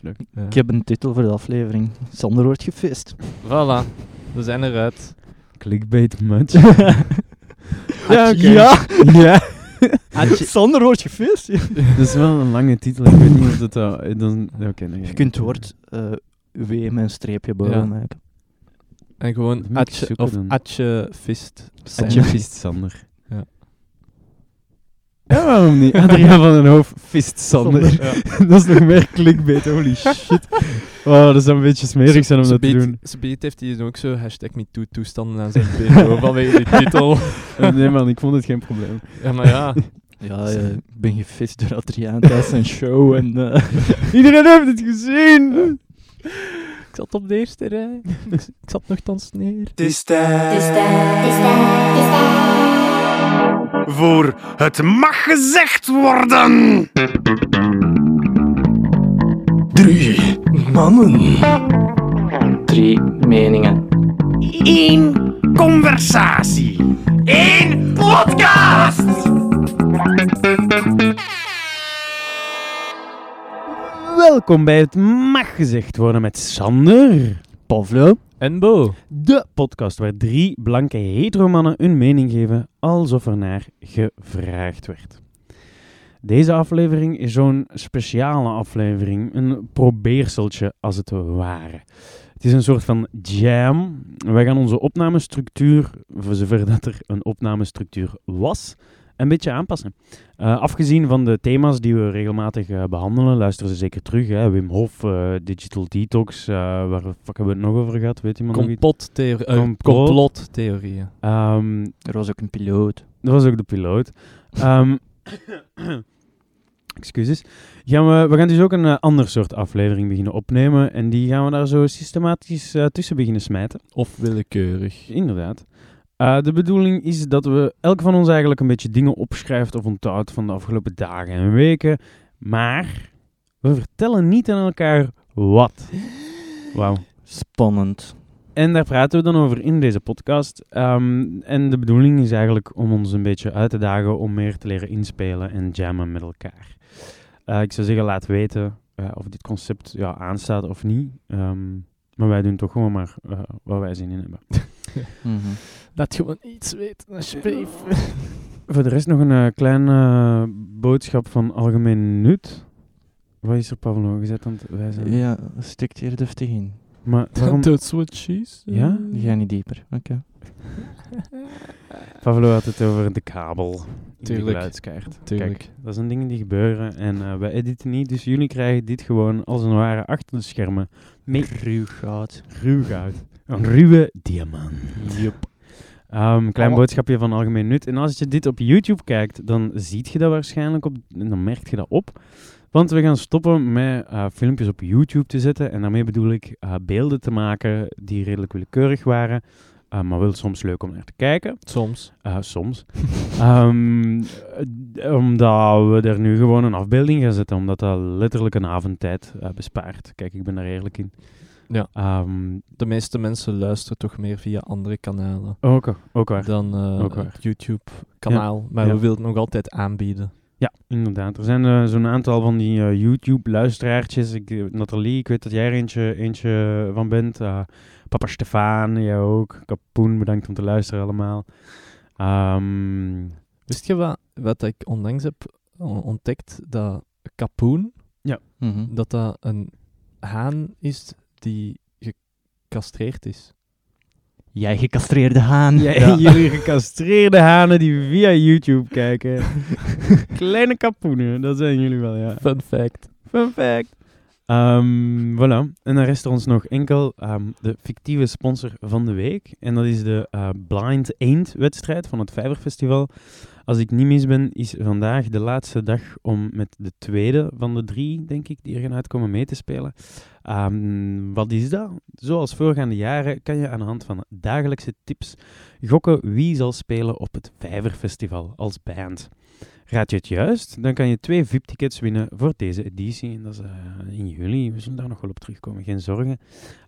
leuk. Ja. Ik heb een titel voor de aflevering. Sander wordt gefeest. Voilà, we zijn eruit. Clickbait much. Ja, oké. ja. ja. Sander wordt gefeest. Dat is wel een lange titel. Ik weet niet of dat... dat eh, dan, oké, dan Je kunt het woord eh W met een streepje boven Ja. maken. En Dat gewoon moet ik atje zoeken of dan. atje fist. zijn. Atje Fist Sander. Ja. Ja, waarom niet? Adriaan van den Hoof, Fist Sander. Sander. dat is nog meer clickbait, holy shit. Wow, dat zou een beetje smerig zijn om dat te Speed- doen. Speed heeft hij ook zo hashtag MeToo-toestanden aan zijn video vanwege die titel. Nee man, ik vond het geen probleem. Ja, maar ja. Ja, eh, ik ben gefeest door Adriaan tijdens zijn show. En, eh, Iedereen heeft het gezien! Ik zat op de eerste rij. Ik, ik zat nogthans neer. Het is tijd voor Het Mag Gezegd Worden. Drie mannen. drie meningen. Eén conversatie. Eén podcast. Welkom bij Het Mag Gezegd Worden met Sander. Pavlo, En Bo. De podcast waar drie blanke heteromannen hun mening geven alsof er naar gevraagd werd. Deze aflevering is zo'n speciale aflevering, een probeerseltje als het ware. Het is een soort van jam. Wij gaan onze opnamestructuur, voor zover dat er een opnamestructuur was, een beetje aanpassen. Eh, afgezien van de thema's die we regelmatig eh, behandelen, luisteren ze zeker terug. Hè? Wim Hof, eh, Digital Detox, eh, waar de fuck hebben we het nog over gehad? Weet iemand nog iets? Complottheorie. eh, Complot. complottheorieën. Ehm, er was ook een piloot. dat was ook de piloot. Ehm, excuses. Gaan we, we gaan dus ook een eh, ander soort aflevering beginnen opnemen. En die gaan we daar zo systematisch eh, tussen beginnen smijten. Of willekeurig. Inderdaad. Eh, de bedoeling is dat we elk van ons eigenlijk een beetje dingen opschrijft of onthoudt van de afgelopen dagen en weken. Maar we vertellen niet aan elkaar wat. Wauw. Spannend. En daar praten we dan over in deze podcast. Ehm, en de bedoeling is eigenlijk om ons een beetje uit te dagen om meer te leren inspelen en jammen met elkaar. Eh, ik zou zeggen, laat weten eh, of dit concept ja, aanstaat of niet. Ehm, maar wij doen toch gewoon maar eh, wat wij zin in hebben. Mhm. Laat gewoon iets weten, alsjeblieft. Voor de rest nog een eh, kleine eh, boodschap van algemeen nut. Wat is er, Pavlo, gezet aan het wijzen? Ja, stikt hier deftig in. Maar waarom... That's what she said. Ja? Ga niet dieper. Oké. Pavlo had het over de kabel. in De Tuurlijk. geluidskaart. Tuurlijk. Kijk, dat zijn dingen die gebeuren en eh, wij editen niet, dus jullie krijgen dit gewoon als een ware achter de schermen. Met Ruw goud. ruw goud. Een ruwe diamant. Ehm, klein Alle- boodschapje van algemeen nut. En als je dit op YouTube kijkt, dan ziet je dat waarschijnlijk op, en dan merk je dat op. Want we gaan stoppen met eh, filmpjes op YouTube te zetten. En daarmee bedoel ik eh, beelden te maken die redelijk willekeurig waren. eh, maar wel soms leuk om naar te kijken. Soms. Eh, soms. Ehm, eh, omdat we er nu gewoon een afbeelding gaan zetten, omdat dat letterlijk een avondtijd eh, bespaart. Kijk, ik ben daar eerlijk in. Ja. Ehm, De meeste mensen luisteren toch meer via andere kanalen ook, ook waar. dan eh, Ook waar. het YouTube-kanaal. Maar Ja. we willen het nog altijd aanbieden. Ja, inderdaad. Er zijn eh, zo'n aantal van die eh, YouTube-luisteraartjes. Ik, eh, Nathalie, ik weet dat jij er eentje, eentje van bent. Eh, Papa Stefan, jij ook. Kapoen, bedankt om te luisteren allemaal. Ehm, Wist je wat, wat ik onlangs heb on- ontdekt? Dat kapoen, Mhm. dat dat een haan is die gecastreerd is. Jij gecastreerde haan. Jij, Jullie gecastreerde hanen die via YouTube kijken. Kleine kapoenen, dat zijn jullie wel, ja. Fun fact. Fun fact. Ehm, voilà. En dan rest er ons nog enkel ehm, de fictieve sponsor van de week. En dat is de eh, Blind Eend wedstrijd van het Vijverfestival. Als ik niet mis ben, is vandaag de laatste dag om met de tweede van de drie, denk ik, die er gaan uitkomen mee te spelen. Ehm, wat is dat? Zoals voorgaande jaren kan je aan de hand van dagelijkse tips gokken wie zal spelen op het Vijverfestival als band. Raad je het juist, dan kan je twee VIP-tickets winnen voor deze editie. En dat is eh, in juli. We zullen daar nog wel op terugkomen, geen zorgen.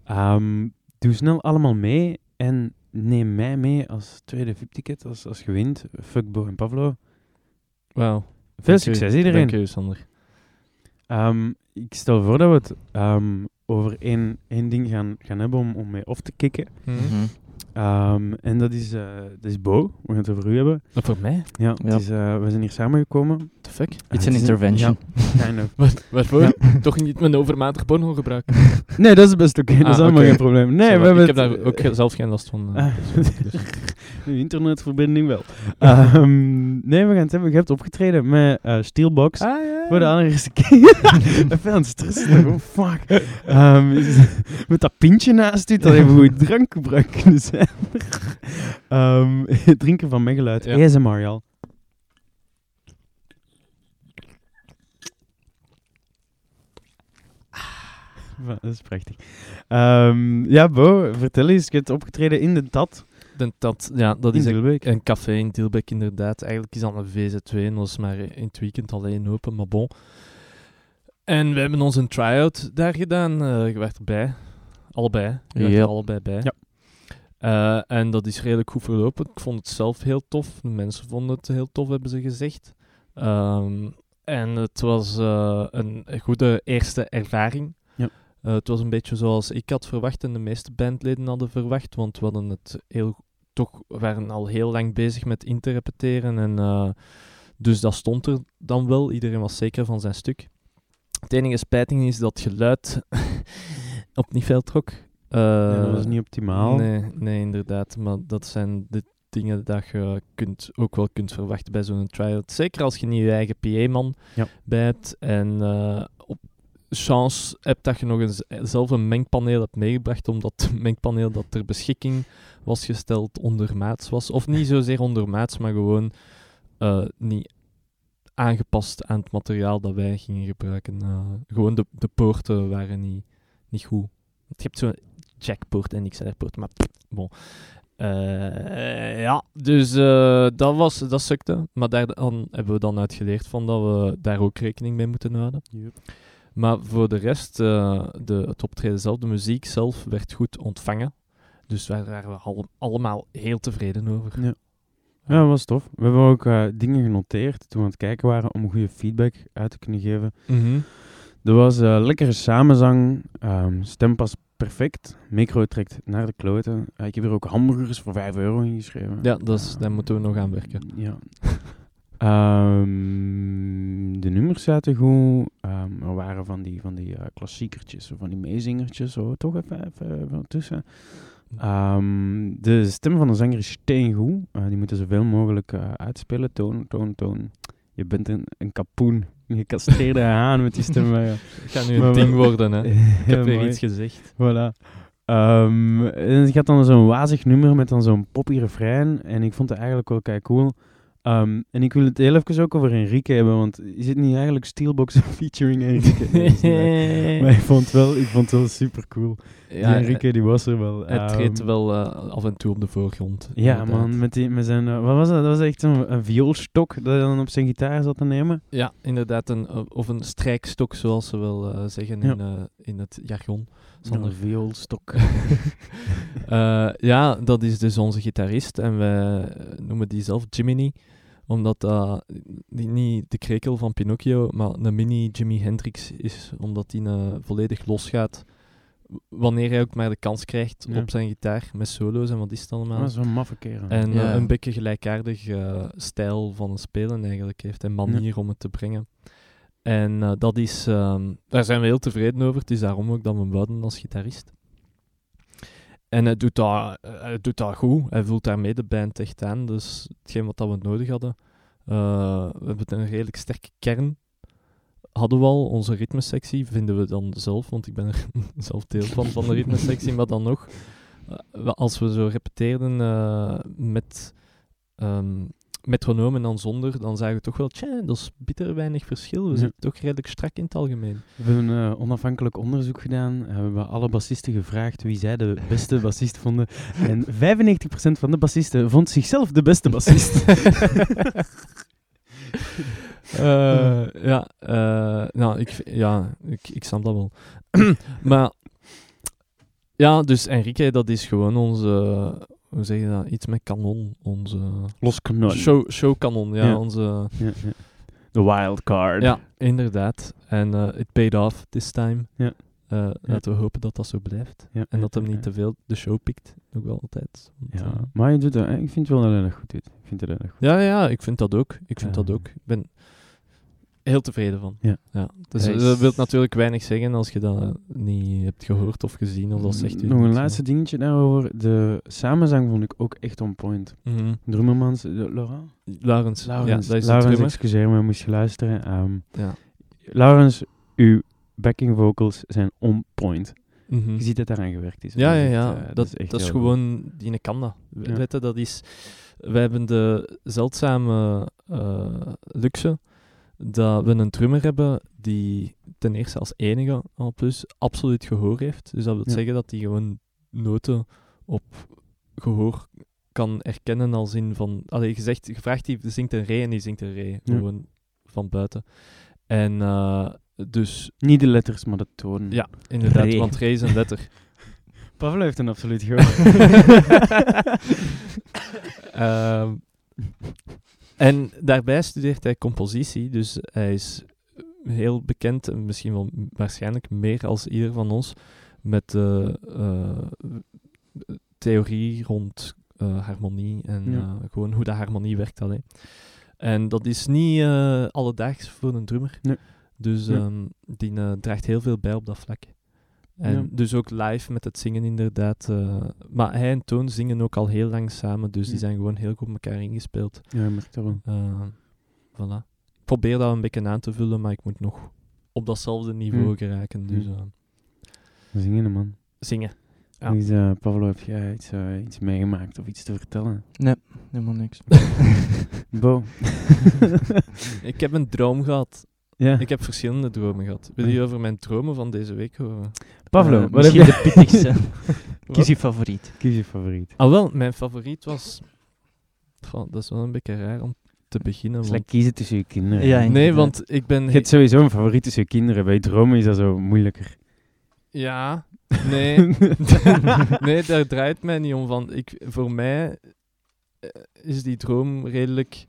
Ehm, doe snel allemaal mee en neem mij mee als tweede VIP-ticket als, als je wint. Fuck Bo en Pavlo. Wauw. Veel Dank u. succes iedereen. Dank u, Sander. Ehm, ik stel voor dat we het ehm, over één, één ding gaan, gaan hebben om, om mee op te kicken. Mhm. Ehm, en dat is, eh, dat is Bo. We gaan het over u hebben. Maar voor mij? Ja, het Ja. is, eh, we zijn hier samengekomen. The fuck? It's Ah, an het is een- intervention. Kind of. Waarvoor? Toch niet mijn overmatig porno gebruiken. Nee, dat is best oké. dat is Ah, allemaal oké. geen probleem. Nee, Zo, we hebben ik heb het- daar ook ge- zelf geen last van. eh, Ah. dus, dus. Uw internetverbinding wel. Ehm, nee, we gaan het hebben. Je hebt opgetreden met eh, Steelbox. Ah. Voor de allereerste keer. Ik vind het stressig. Oh, fuck. Ehm, is- met dat pintje naast u, dat even goed drankgebruik kunnen zijn. dus, Ehm, het drinken van meegeluid. Ja. ASMR, Jal. Wa- Ah, Dat is prachtig. Ehm, ja, Bo, vertel eens. Je hebt opgetreden in de TAT. De tat, ja, dat in is een, Dilbeek. een café in Tilbeek inderdaad. Eigenlijk is dat een VZ2 en dat is maar in het weekend alleen open, maar bon. En we hebben ons een try-out daar gedaan. eh je werd erbij. Allebei. Je werd Ja. er allebei bij. Ja. Eh, en dat is redelijk goed verlopen. Ik vond het zelf heel tof. De mensen vonden het heel tof, hebben ze gezegd. Ehm, en het was eh, een goede eerste ervaring. Ja. Eh, het was een beetje zoals ik had verwacht en de meeste bandleden hadden verwacht, want we hadden het heel, toch we waren al heel lang bezig met in te repeteren en eh, dus dat stond er dan wel. Iedereen was zeker van zijn stuk. Het enige spijting is dat geluid op niet veel trok. Eh, Ja, dat was niet optimaal. Nee, nee, inderdaad. Maar dat zijn de dingen dat je kunt, ook wel kunt verwachten bij zo'n try-out. Zeker als je niet je eigen PA-man Ja. bij hebt. En eh, op chance hebt dat je nog eens eh, zelf een mengpaneel hebt meegebracht, omdat het mengpaneel dat ter beschikking was gesteld ondermaats was. Of niet zozeer ondermaats, maar gewoon eh, niet aangepast aan het materiaal dat wij gingen gebruiken. Eh, gewoon de, de poorten waren niet, niet goed. Want je hebt zo'n jackpoort en XR-poort, maar pff, bon. Eh, ja, dus eh, dat, was, dat sukte. Maar daar dan hebben we dan uitgeleerd van dat we daar ook rekening mee moeten houden. Yep. Maar voor de rest, eh, de, het optreden zelf, de muziek zelf, werd goed ontvangen. Dus daar waren we al- allemaal heel tevreden over. Ja, dat was tof. We hebben ook eh, dingen genoteerd toen we aan het kijken waren om goede feedback uit te kunnen geven. Er was eh, lekkere samenzang, ehm, stem past perfect, micro trekt naar de kloten. Eh, ik heb er ook hamburgers voor 5 euro ingeschreven. Ja, dat is, Dus daar moeten we nog aan werken. Ja. Ehm, de nummers zaten goed. Ehm, er waren van die, van die eh, klassiekertjes, zo van die meezingertjes, zo, toch even, even, eh, van tussen. Ehm, de stem van de zanger is steengoed. Eh, die moeten zoveel mogelijk eh, uitspelen. Toon, toon, toon. Je bent een, een kapoen. Een gecastreerde haan met die stem. eh. Het gaat nu een Maar we- ding worden, hè. Ik heb Heel weer mooi. iets gezegd. Voilà. Ehm, en het gaat dan zo'n wazig nummer met dan zo'n poppy refrein. En ik vond het eigenlijk wel kei cool. Ehm, en ik wil het heel even ook over Enrique hebben, want is het niet eigenlijk Steelbox featuring Enrique? Nee, dat is niet waar. maar ik vond het wel, ik vond het wel super cool. ja, Enrique die was er wel. het Ehm, treedt wel eh, af en toe op de voorgrond. Ja, inderdaad. man, met, die, met zijn. eh, wat was dat? Dat was echt zo'n een vioolstok dat hij dan op zijn gitaar zat te nemen. Ja, inderdaad. Een, eh, of een strijkstok, zoals ze wel eh, zeggen in, eh, in het jargon. Sander. Zo'n vioolstok. Eh, ja, dat is dus onze gitarist. En we noemen die zelf Jiminy. Omdat dat die- niet de krekel van Pinocchio, maar een mini Jimi Hendrix is. Omdat die eh, volledig losgaat. w- Wanneer hij ook maar de kans krijgt Ja. Ah, op zijn gitaar. Met solo's en wat is het allemaal. Dat is zo'n maffe kerel. En eh, Ja. een beetje gelijkaardig eh, stijl van spelen eigenlijk heeft en manier om het te brengen. En eh, dat is, ehm, daar zijn we heel tevreden over. Het is daarom ook dat we hem wouden als gitarist. En hij doet, dat, eh, hij doet dat goed. Hij voelt daarmee de band echt aan. Dus hetgeen wat dat we nodig hadden. Eh, we hebben een redelijk sterke kern. Hadden we al. Onze ritmesectie vinden we dan zelf. Want ik ben er zelf deel van, van de ritmesectie. maar dan nog. eh, we- als we zo repeteerden eh, met ehm metronoom en dan zonder. Dan zagen we toch wel. Tja, dat is bitter weinig verschil. We Ja. zitten toch redelijk strak in het algemeen. We hebben een eh, onafhankelijk onderzoek gedaan. en We hebben alle bassisten gevraagd wie zij de beste bassist vonden. En 95% van de bassisten vond zichzelf de beste bassist. Eh, ja, eh, nou, ik, v- ja ik, ik snap dat wel. maar ja, dus Enrique, dat is gewoon onze, hoe zeg je dat, iets met kanon. Onze Los kanon. show, showkanon, ja, Oh, Ja. onze Ja, ja. Dat de wildcard. Ja, inderdaad. En eh, it paid off this time. Ja. Eh, Ja. Laten we hopen dat dat zo blijft. Ja, En dat ja, hem ja. niet te veel de show pikt. Ook wel altijd. Want, eh, Ja, maar je doet dat, ik vind wel dat hij dat goed doet. Ik vind dat hij dat goed ja, ja, ik vind dat ook. Ik vind dat Ja. ook. Ik ben heel tevreden van. Ehm. Ja. Dus Hij is- dat wil natuurlijk weinig zeggen als je dat niet hebt gehoord of gezien. Of dat zegt u Nog een niks, laatste dingetje daarover. De samenzang vond ik ook echt on point. maar- Mhm. Drummermans, eh, Laurent? Laurens. Laurens, ja, dat is de Laurens drummer. excuseer me, moest je luisteren. Ehm, Ja. Laurens, uw backing vocals zijn on point. Mhm. Je ziet dat daaraan gewerkt is. Ja, Dat ja, is ja. echt, eh, dat, is echt heel goed. gewoon die ene kan dat. We- Ja. Weet je, dat is... We hebben de zeldzame eh, luxe dat we een drummer hebben die ten eerste als enige al plus absoluut gehoor heeft. Dus dat wil Ja. zeggen dat hij gewoon noten op gehoor kan erkennen als in van... Allee, je, zegt, je vraagt die zingt een ree en die zingt een ree. Ja. Gewoon van buiten. En eh, dus Niet de letters, maar de toon. ja, inderdaad, Ree. want ree is een letter. Pavel heeft een absoluut gehoor. Ehm, en daarbij studeert hij compositie, dus hij is heel bekend, en misschien wel m- waarschijnlijk meer als ieder van ons, met de eh, theorie rond eh, harmonie en Ja. eh, gewoon hoe de harmonie werkt. Alleen. En dat is niet eh, alledaags voor een drummer. Nee. Dus Nee. ehm, die eh, draagt heel veel bij op dat vlak. En Ja. dus ook live met het zingen inderdaad. eh, maar hij en Toon zingen ook al heel lang samen, dus die Ja. zijn gewoon heel goed op elkaar ingespeeld. ja, ik merk dat wel. Eh, voilà. Ik probeer dat een beetje aan te vullen, maar ik moet nog op datzelfde niveau Hmm. geraken. Dus Hmm. eh, Zingen, man. zingen. Ja. Ja. Is, eh, Pavlo, heb jij iets, eh, iets meegemaakt of iets te vertellen? Helemaal niks. Bo. Ik heb een droom gehad. ja. Ik heb verschillende dromen gehad. Wil je over mijn dromen van deze week horen? Pavlo, Eh, wat heb je? misschien de pittigste. Kies je favoriet. Kies je favoriet. Ah wel, mijn favoriet was... Goh, dat is wel een beetje raar om te beginnen. Slecht want- kiezen tussen je kinderen. Ja, Nee, inderdaad. want ik ben... Je hebt sowieso een favoriet tussen je kinderen. Bij dromen is dat zo moeilijker. Ja, nee. nee, daar draait het mij niet om. Van. Ik, voor mij eh, is die droom redelijk.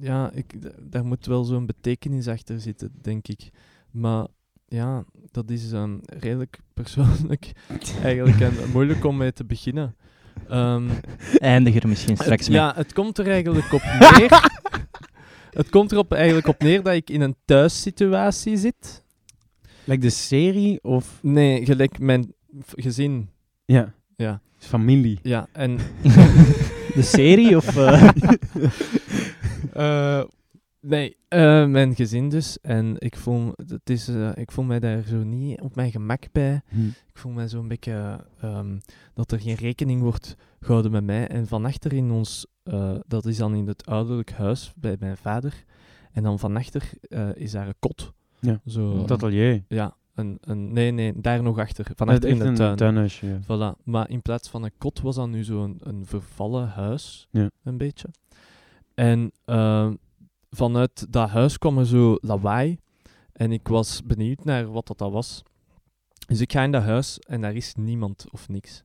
Ja, ik, da- daar moet wel zo'n betekenis achter zitten, denk ik. Maar ja, dat is ehm, redelijk persoonlijk eigenlijk en moeilijk om mee te beginnen. Ehm, Eindig er misschien straks het- mee. ja, het komt er eigenlijk op neer. het komt erop eigenlijk op neer dat ik in een thuissituatie zit. Lijkt de serie of... Nee, gelijk mijn v- gezin. Ja, Ja, is familie. ja. En De serie of... eh, Eh, nee, eh, mijn gezin dus. En ik voel, het is, eh, ik voel mij daar zo niet op mijn gemak bij. Hm. Ik voel mij zo'n beetje ehm, dat er geen rekening wordt gehouden met mij. En van achter in ons, eh, dat is dan in het ouderlijk huis bij mijn vader. En dan van achter eh, is daar een kot. Ja, zo, Dat atelier. Ja, een, een, nee, nee, daar nog achter. Van Dat achter is in echt de een tuin. tuinhuisje. ja. Voilà. Maar in plaats van een kot was dat nu zo'n een vervallen huis. Ja. Een beetje. En ehm, vanuit dat huis kwam er zo lawaai. En ik was benieuwd naar wat dat, dat was. Dus ik ga in dat huis en daar is niemand of niks.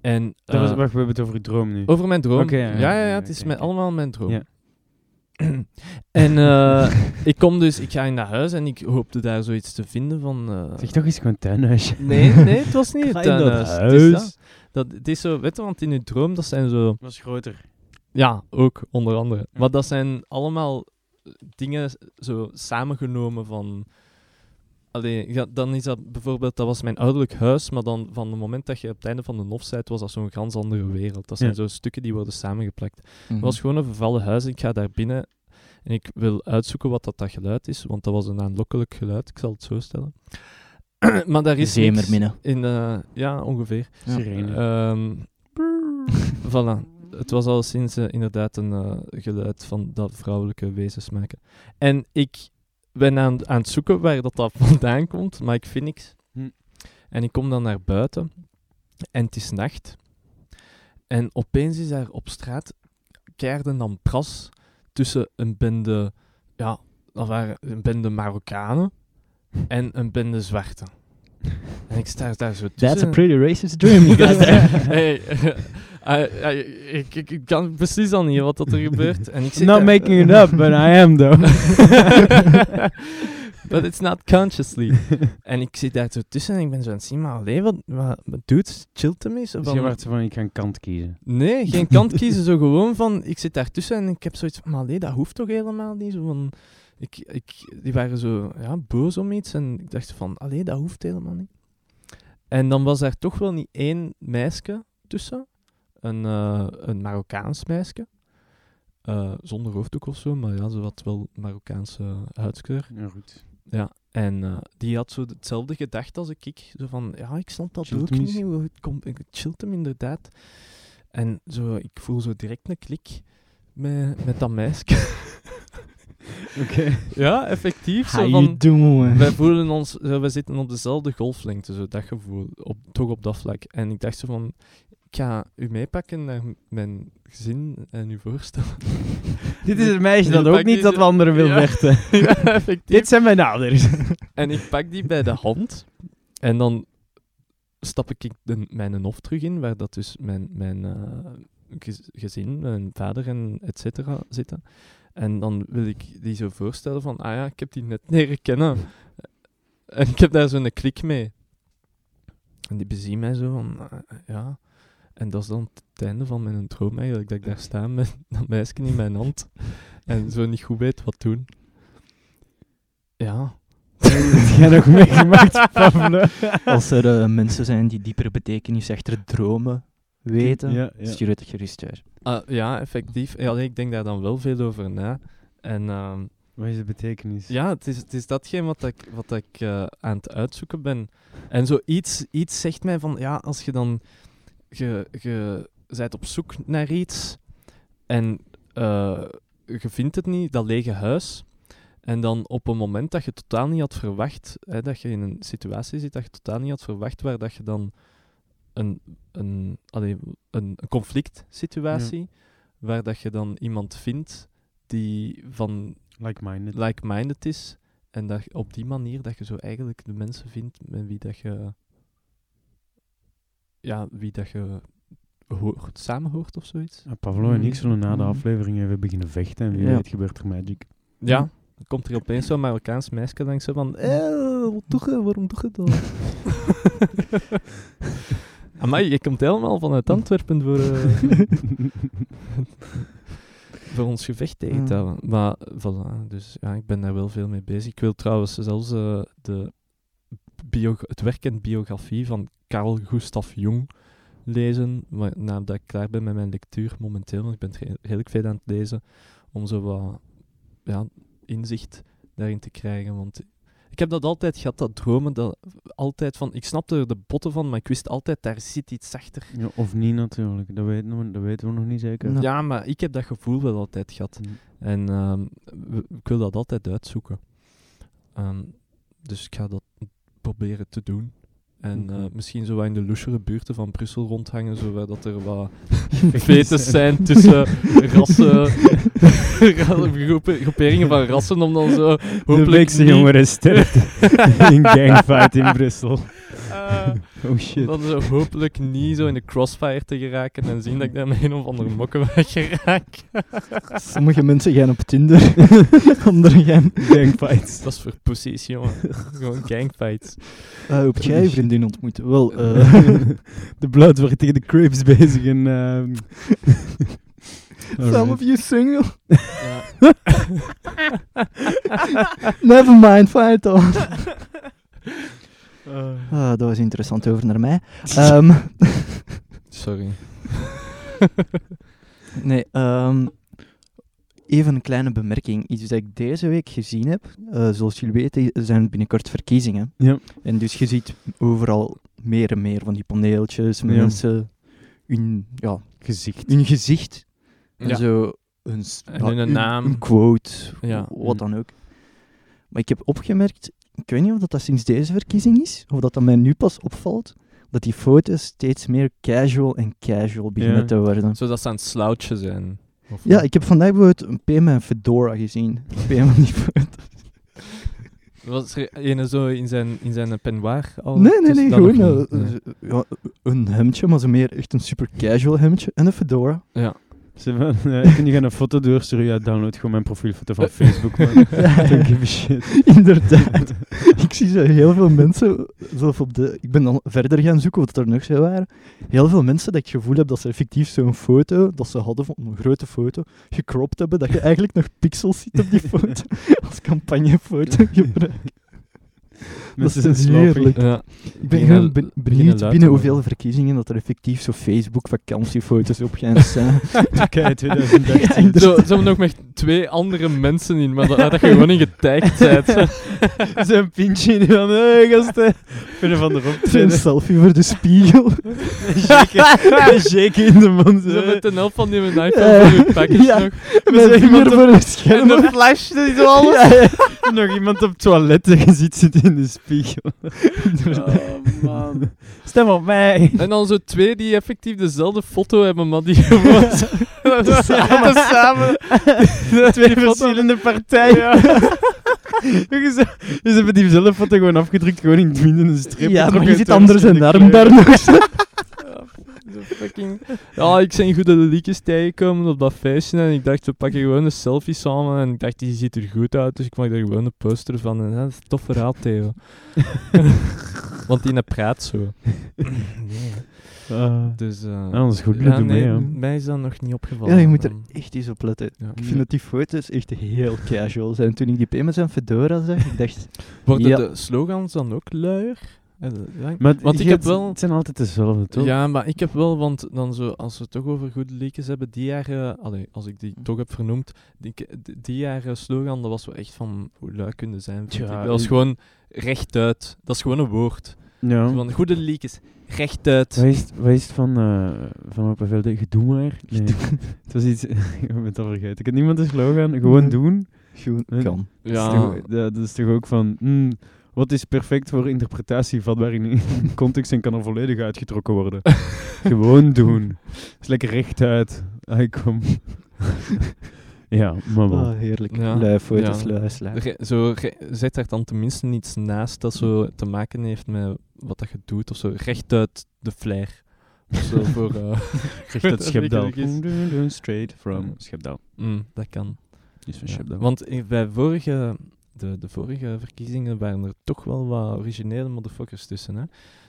En, Dat was, eh, wacht, we hebben het over je droom nu. over mijn droom. Oké, ja, ja, ja, ja, ja, ja, het is oké, mijn, oké. allemaal mijn droom. Ja. en eh, ik kom dus, ik ga in dat huis en ik hoopte daar zoiets te vinden van... eh, Zeg toch eens gewoon tuinhuisje. Nee, nee, het was niet het Klein tuinhuis. dat Het is huis. dat. Dat, het is zo, weet je, want in uw droom, dat zijn zo... was groter. Ja, ook, onder andere. Maar dat zijn allemaal eh, dingen zo samengenomen van... Allee, ja, dan is dat bijvoorbeeld, dat was mijn ouderlijk huis, maar dan van het moment dat je op het einde van de nof zijt, was dat zo'n ganz andere wereld. Dat zijn Ja. zo stukken die worden samengeplakt. mhm. Het was gewoon een vervallen huis. Ik ga daar binnen en ik wil uitzoeken wat dat, dat geluid is, want dat was een aanlokkelijk geluid, ik zal het zo stellen. maar daar is niks. Zeemerminnen. In, eh, ja, ongeveer. Ja. Sirene. Ehm, voilà. Het was al sinds eh, inderdaad een eh, geluid van dat vrouwelijke wezens maken. En ik ben aan, aan het zoeken waar dat, dat vandaan komt, maar ik vind niks. Hm. En ik kom dan naar buiten en het is nacht. En opeens is daar op straat keerde dan pras tussen een bende, ja, dat waren een bende Marokkanen en een bende Zwarten. En En ik sta daar zo That's a tussen. pretty racist dream you got there. Hey, eh, eh, ik, ik, ik kan precies al niet wat dat er gebeurt. En ik zit Not daar- making it up, but I am though. But it's not consciously. en ik zit daar zo tussen en ik ben zo aan het zien, maar alleen wat, wat, wat doet chillt hem eens? Of Dus je dan- werd zo van, ik ga een kant kiezen. Nee, geen kant kiezen, zo gewoon van, ik zit daar tussen en ik heb zoiets van, maar nee, dat hoeft toch helemaal niet? Zo van, ik, ik, die waren zo ja, boos om iets en ik dacht van, allee, dat hoeft helemaal niet. En dan was daar toch wel niet één meisje tussen, een, eh, een Marokkaans meisje, Eh, zonder hoofddoek of zo, maar ja, ze had wel Marokkaanse huidskleur. Ja, goed. Ja, en eh, die had zo hetzelfde gedacht als ik. ik. Zo van, ja, ik snap dat Chillt ook hem niet. eens. hoe Het komt, het chillt hem inderdaad. En zo, ik voel zo direct een klik met, met dat meisje. Oké. ja, effectief. How you doing? wij voelen ons, zo, wij zitten op dezelfde golflengte, zo, dat gevoel. Op, toch op dat vlak. En ik dacht zo van, ik ga u meepakken naar m- mijn gezin en u voorstellen. Dit is het meisje Je dat ook pakt niet die dat zo- we anderen wil Ja. vechten. ja, effectief. Dit zijn mijn ouders. En ik pak die bij de hand. En dan stap ik de, mijn hof terug in, waar dat dus mijn, mijn eh, gez- gezin, mijn vader en et cetera zitten. En dan wil ik die zo voorstellen van, ah ja, ik heb die net leren kennen. En ik heb daar zo'n klik mee. En die bezien mij zo van, ah, ja. En dat is dan het einde van mijn droom eigenlijk, dat ik daar sta met dat meisje in mijn hand. En zo niet goed weet wat doen. Ja. Dat jij nog meegemaakt, Pablo. Als er eh, mensen zijn die diepere betekenis achter dromen weten, Ja, ja. stuur het gerust uit. Ah, ja, effectief. Ja, nee, ik denk daar dan wel veel over na. En ehm, Wat is de betekenis? ja, het is, het is datgene wat ik, wat ik eh, aan het uitzoeken ben. En zoiets iets zegt mij van, ja, als je dan... Je, je bent op zoek naar iets en eh, je vindt het niet, dat lege huis. En dan op een moment dat je totaal niet had verwacht, hè, dat je in een situatie zit dat je totaal niet had verwacht, waar dat je dan een, een, allee, een, een conflict situatie, waar dat je dan iemand vindt die van Like-minded. like-minded is. En dat je op die manier dat je zo eigenlijk de mensen vindt met wie dat je... Ja, wie dat je hoort, samenhoort of zoiets. Ah, Pablo en ik zullen na de Mhm. aflevering even beginnen vechten. En wie Ja. weet gebeurt er magic. Ja. Dan komt er opeens zo'n Marokkaans meisje langs zo van... Eh, wat doe je? Waarom doe je dat? Amai, je komt helemaal vanuit Antwerpen voor, eh, voor ons gevecht tegen te Ja. houden. Maar eh, voilà, dus ja, ik ben daar wel veel mee bezig. Ik wil trouwens zelfs eh, de bio het werk en biografie van Carl Gustav Jung lezen. Maar nadat ik klaar ben met mijn lectuur momenteel, want ik ben het re- redelijk veel aan het lezen, om zo wat ja, inzicht daarin te krijgen. Want ik heb dat altijd gehad, dat dromen, dat altijd van, ik snapte er de botten van, maar ik wist altijd, daar zit iets zachter. Ja, of niet natuurlijk, dat weten we, dat weten we nog niet zeker. Ja. Ja, maar ik heb dat gevoel wel altijd gehad. Mm. En ehm, w- ik wil dat altijd uitzoeken. Ehm, dus ik ga dat proberen te doen. En Mhm. eh, misschien zo wat in de luschere buurten van Brussel rondhangen, zodat dat er wat Fetus fetes zijn tussen rassen, ra- groepen- groeperingen van rassen, om dan zo De hopelijk weekse niet- jongeren sterft in gangfight in Brussel. Eh, Oh om shit. dan zo hopelijk niet zo in de crossfire te geraken en zien dat ik daar met een of andere mokken weg geraak. Sommige mensen gaan op Tinder, anderen gaan Gangfights. Dat is voor pussies, jongen. Gewoon gangfights. Eh, op jij vriendin ontmoeten. Wel, eh, de blood wordt tegen de crepes bezig en... ehm, some of alright. you single. Ja. Never mind, fight on. Ah, dat was interessant over naar mij. Ehm, Sorry. nee, ehm, even een kleine bemerking. Iets dat ik deze week gezien heb. Eh, zoals jullie weten zijn het binnenkort verkiezingen. Ja. En dus je ziet overal meer en meer van die paneeltjes. met Ja. Mensen hun, ja, Gezicht. hun gezicht En Ja. zo hun, s- En hun naam. Een quote, Ja. Mhm. wat dan ook. Maar ik heb opgemerkt, ik weet niet of dat, dat sinds deze verkiezing is, of dat dat mij nu pas opvalt, dat die foto's steeds meer casual en casual beginnen Ja. te worden. Zodat ze aan het slouchen zijn. Of Ja, ik heb vandaag bijvoorbeeld een P met een fedora gezien. Op een van die foto's. Was er ene zo in zijn, in zijn peignoir al? Nee, nee, tussen- nee, dan gewoon Oh, nog niet, eh, nee. eh, ja, een hemdje, maar zo meer echt een super casual hemdje en een fedora. Ze van, eh, ik kan je gaan een foto doorsturen? Ja, download gewoon mijn profielfoto van Facebook, man. Don't give a shit. Inderdaad. ik zie zo heel veel mensen, zelf op de, ik ben dan verder gaan zoeken wat er nog zo waren, heel veel mensen dat ik het gevoel heb dat ze effectief zo'n foto, dat ze hadden van een grote foto, gecropt hebben, dat je eigenlijk nog pixels ziet op die foto, als campagnefoto gebruikt. Mensen is zijn slapig. heerlijk. Ja. Ik ben Beginnen- heel be- beginnen benieuwd luid te binnen worden. hoeveel verkiezingen dat er effectief zo Facebook vakantiefoto's op gaan staan. Kijk, 2013. Ja, Zo, zijn we nog met twee andere mensen in, maar dat, dat je gewoon in getagd bent. Zo'n pintje in van, hey, gasten. Kunnen van de Zo'n rondtreden. selfie voor de spiegel. Shaken in de mond. Zo hè. met de helft van die mijn Ja. iPhone voor je package Ja. nog. Met zo iemand vinger voor een En scherm. de flash, dat is alles. Ja, ja. Nog iemand op het toilet en je ziet zitten in de spiegel. Oh, man. Stem op mij. En dan zo twee die effectief dezelfde foto hebben, maar die gewoon samen. samen. Twee verschillende partijen. Je ze- Ze hebben diezelfde foto gewoon afgedrukt, gewoon in het midden in een strip. Ja, getrokken maar je uit ziet twee anders een verschillende arm daar kleuren. nog. Zo fucking... Ja, ik zijn goede liedjes tegengekomen op dat feestje en ik dacht, we pakken gewoon een selfie samen. En ik dacht, die ziet er goed uit, dus ik maak daar gewoon een poster van. En dat is een tof verhaal tegen. Want die praat zo. Ah. Dus, eh, Ah, dat is goed. ja, doe nee, mee, ja. mij is dat nog niet opgevallen. Ja, je moet er Ehm, echt eens op letten. ja. Ik vind dat die foto's echt heel casual zijn. Toen ik die P met zijn fedora zag, ik dacht... Worden Ja. de slogans dan ook luier? Eh, ja, ik- Maar Want ik je heb hebt- wel- Het zijn altijd dezelfde, toch? Ja, maar ik heb wel, want dan zo, als we het toch over goede leakers hebben, die jaren, allee, als ik die Hm. toch heb vernoemd, die, ik- die- die jaren slogan, dat was wel echt van hoe lui kunnen zijn. vind Tja, ik. Dat is ik- gewoon rechtuit. Dat is gewoon een woord. Ja. Van goede leakers, rechtuit. Wat is, het- wat is het van, eh van Opa Velde? Gedoe maar. Nee. het was iets... ik ben het al vergeten. Ik heb niemand een slogan. Gewoon Nee. doen. Gewoon, Nee. kan. Dat is toch- dat, dat is toch ook van... mm, wat is perfect voor interpretatie, vatbaar in- in context en kan er volledig uitgetrokken worden. Gewoon doen. Is lekker rechtuit. I kom. ja, maar wel. Oh, heerlijk. Ja. Lui foto's, Ja. lui slaap. Re- zo, re- zet daar dan tenminste iets naast dat zo te maken heeft met wat dat je doet of zo. Rechtuit de flair. Of zo voor... eh, dat Schepdaal. lekker is. Doen, doen, Straight from Schepdaal. mm, dat kan. Is van Ja, Schepdaal. Want i- bij vorige, de, de vorige verkiezingen waren er toch wel wat originele motherfuckers tussen. Hè?